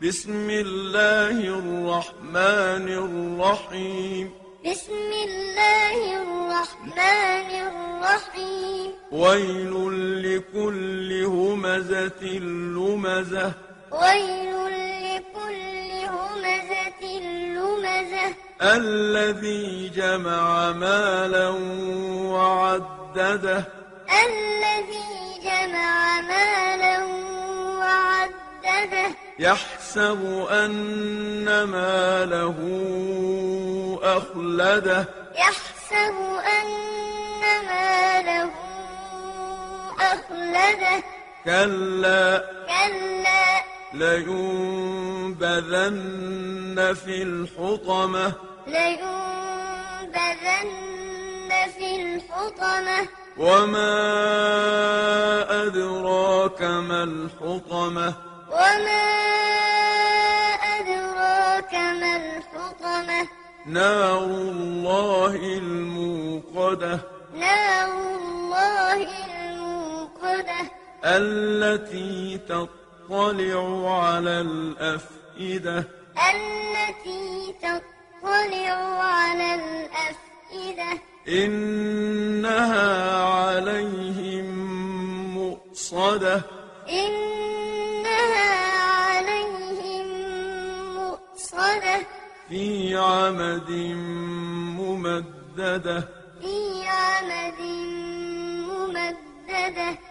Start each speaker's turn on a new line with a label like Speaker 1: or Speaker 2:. Speaker 1: بسم الله الرحمن الرحيم
Speaker 2: بسم الله الرحمن الرحيم
Speaker 1: ويل لكل همزة لمزة
Speaker 2: ويل لكل همزة لمزة
Speaker 1: الذي جمع مالا وعدده
Speaker 2: الذي جمع مالا وعدده
Speaker 1: يحسب أن ماله أخلده
Speaker 2: يحسب أن ماله أخلده
Speaker 1: كلا
Speaker 2: كلا
Speaker 1: لينبذن في الحطمة
Speaker 2: لينبذن في الحطمة
Speaker 1: وما أدراك ما الحطمة
Speaker 2: وما أدراك ما الحطمة
Speaker 1: نار الله الموقدة
Speaker 2: نار الله الموقدة
Speaker 1: التي تطلع على الأفئدة
Speaker 2: التي تطلع على الأفئدة
Speaker 1: إنها عليهم مؤصدة
Speaker 2: إنها عليهم مؤصدة
Speaker 1: في عمد ممددة
Speaker 2: في عمد ممددة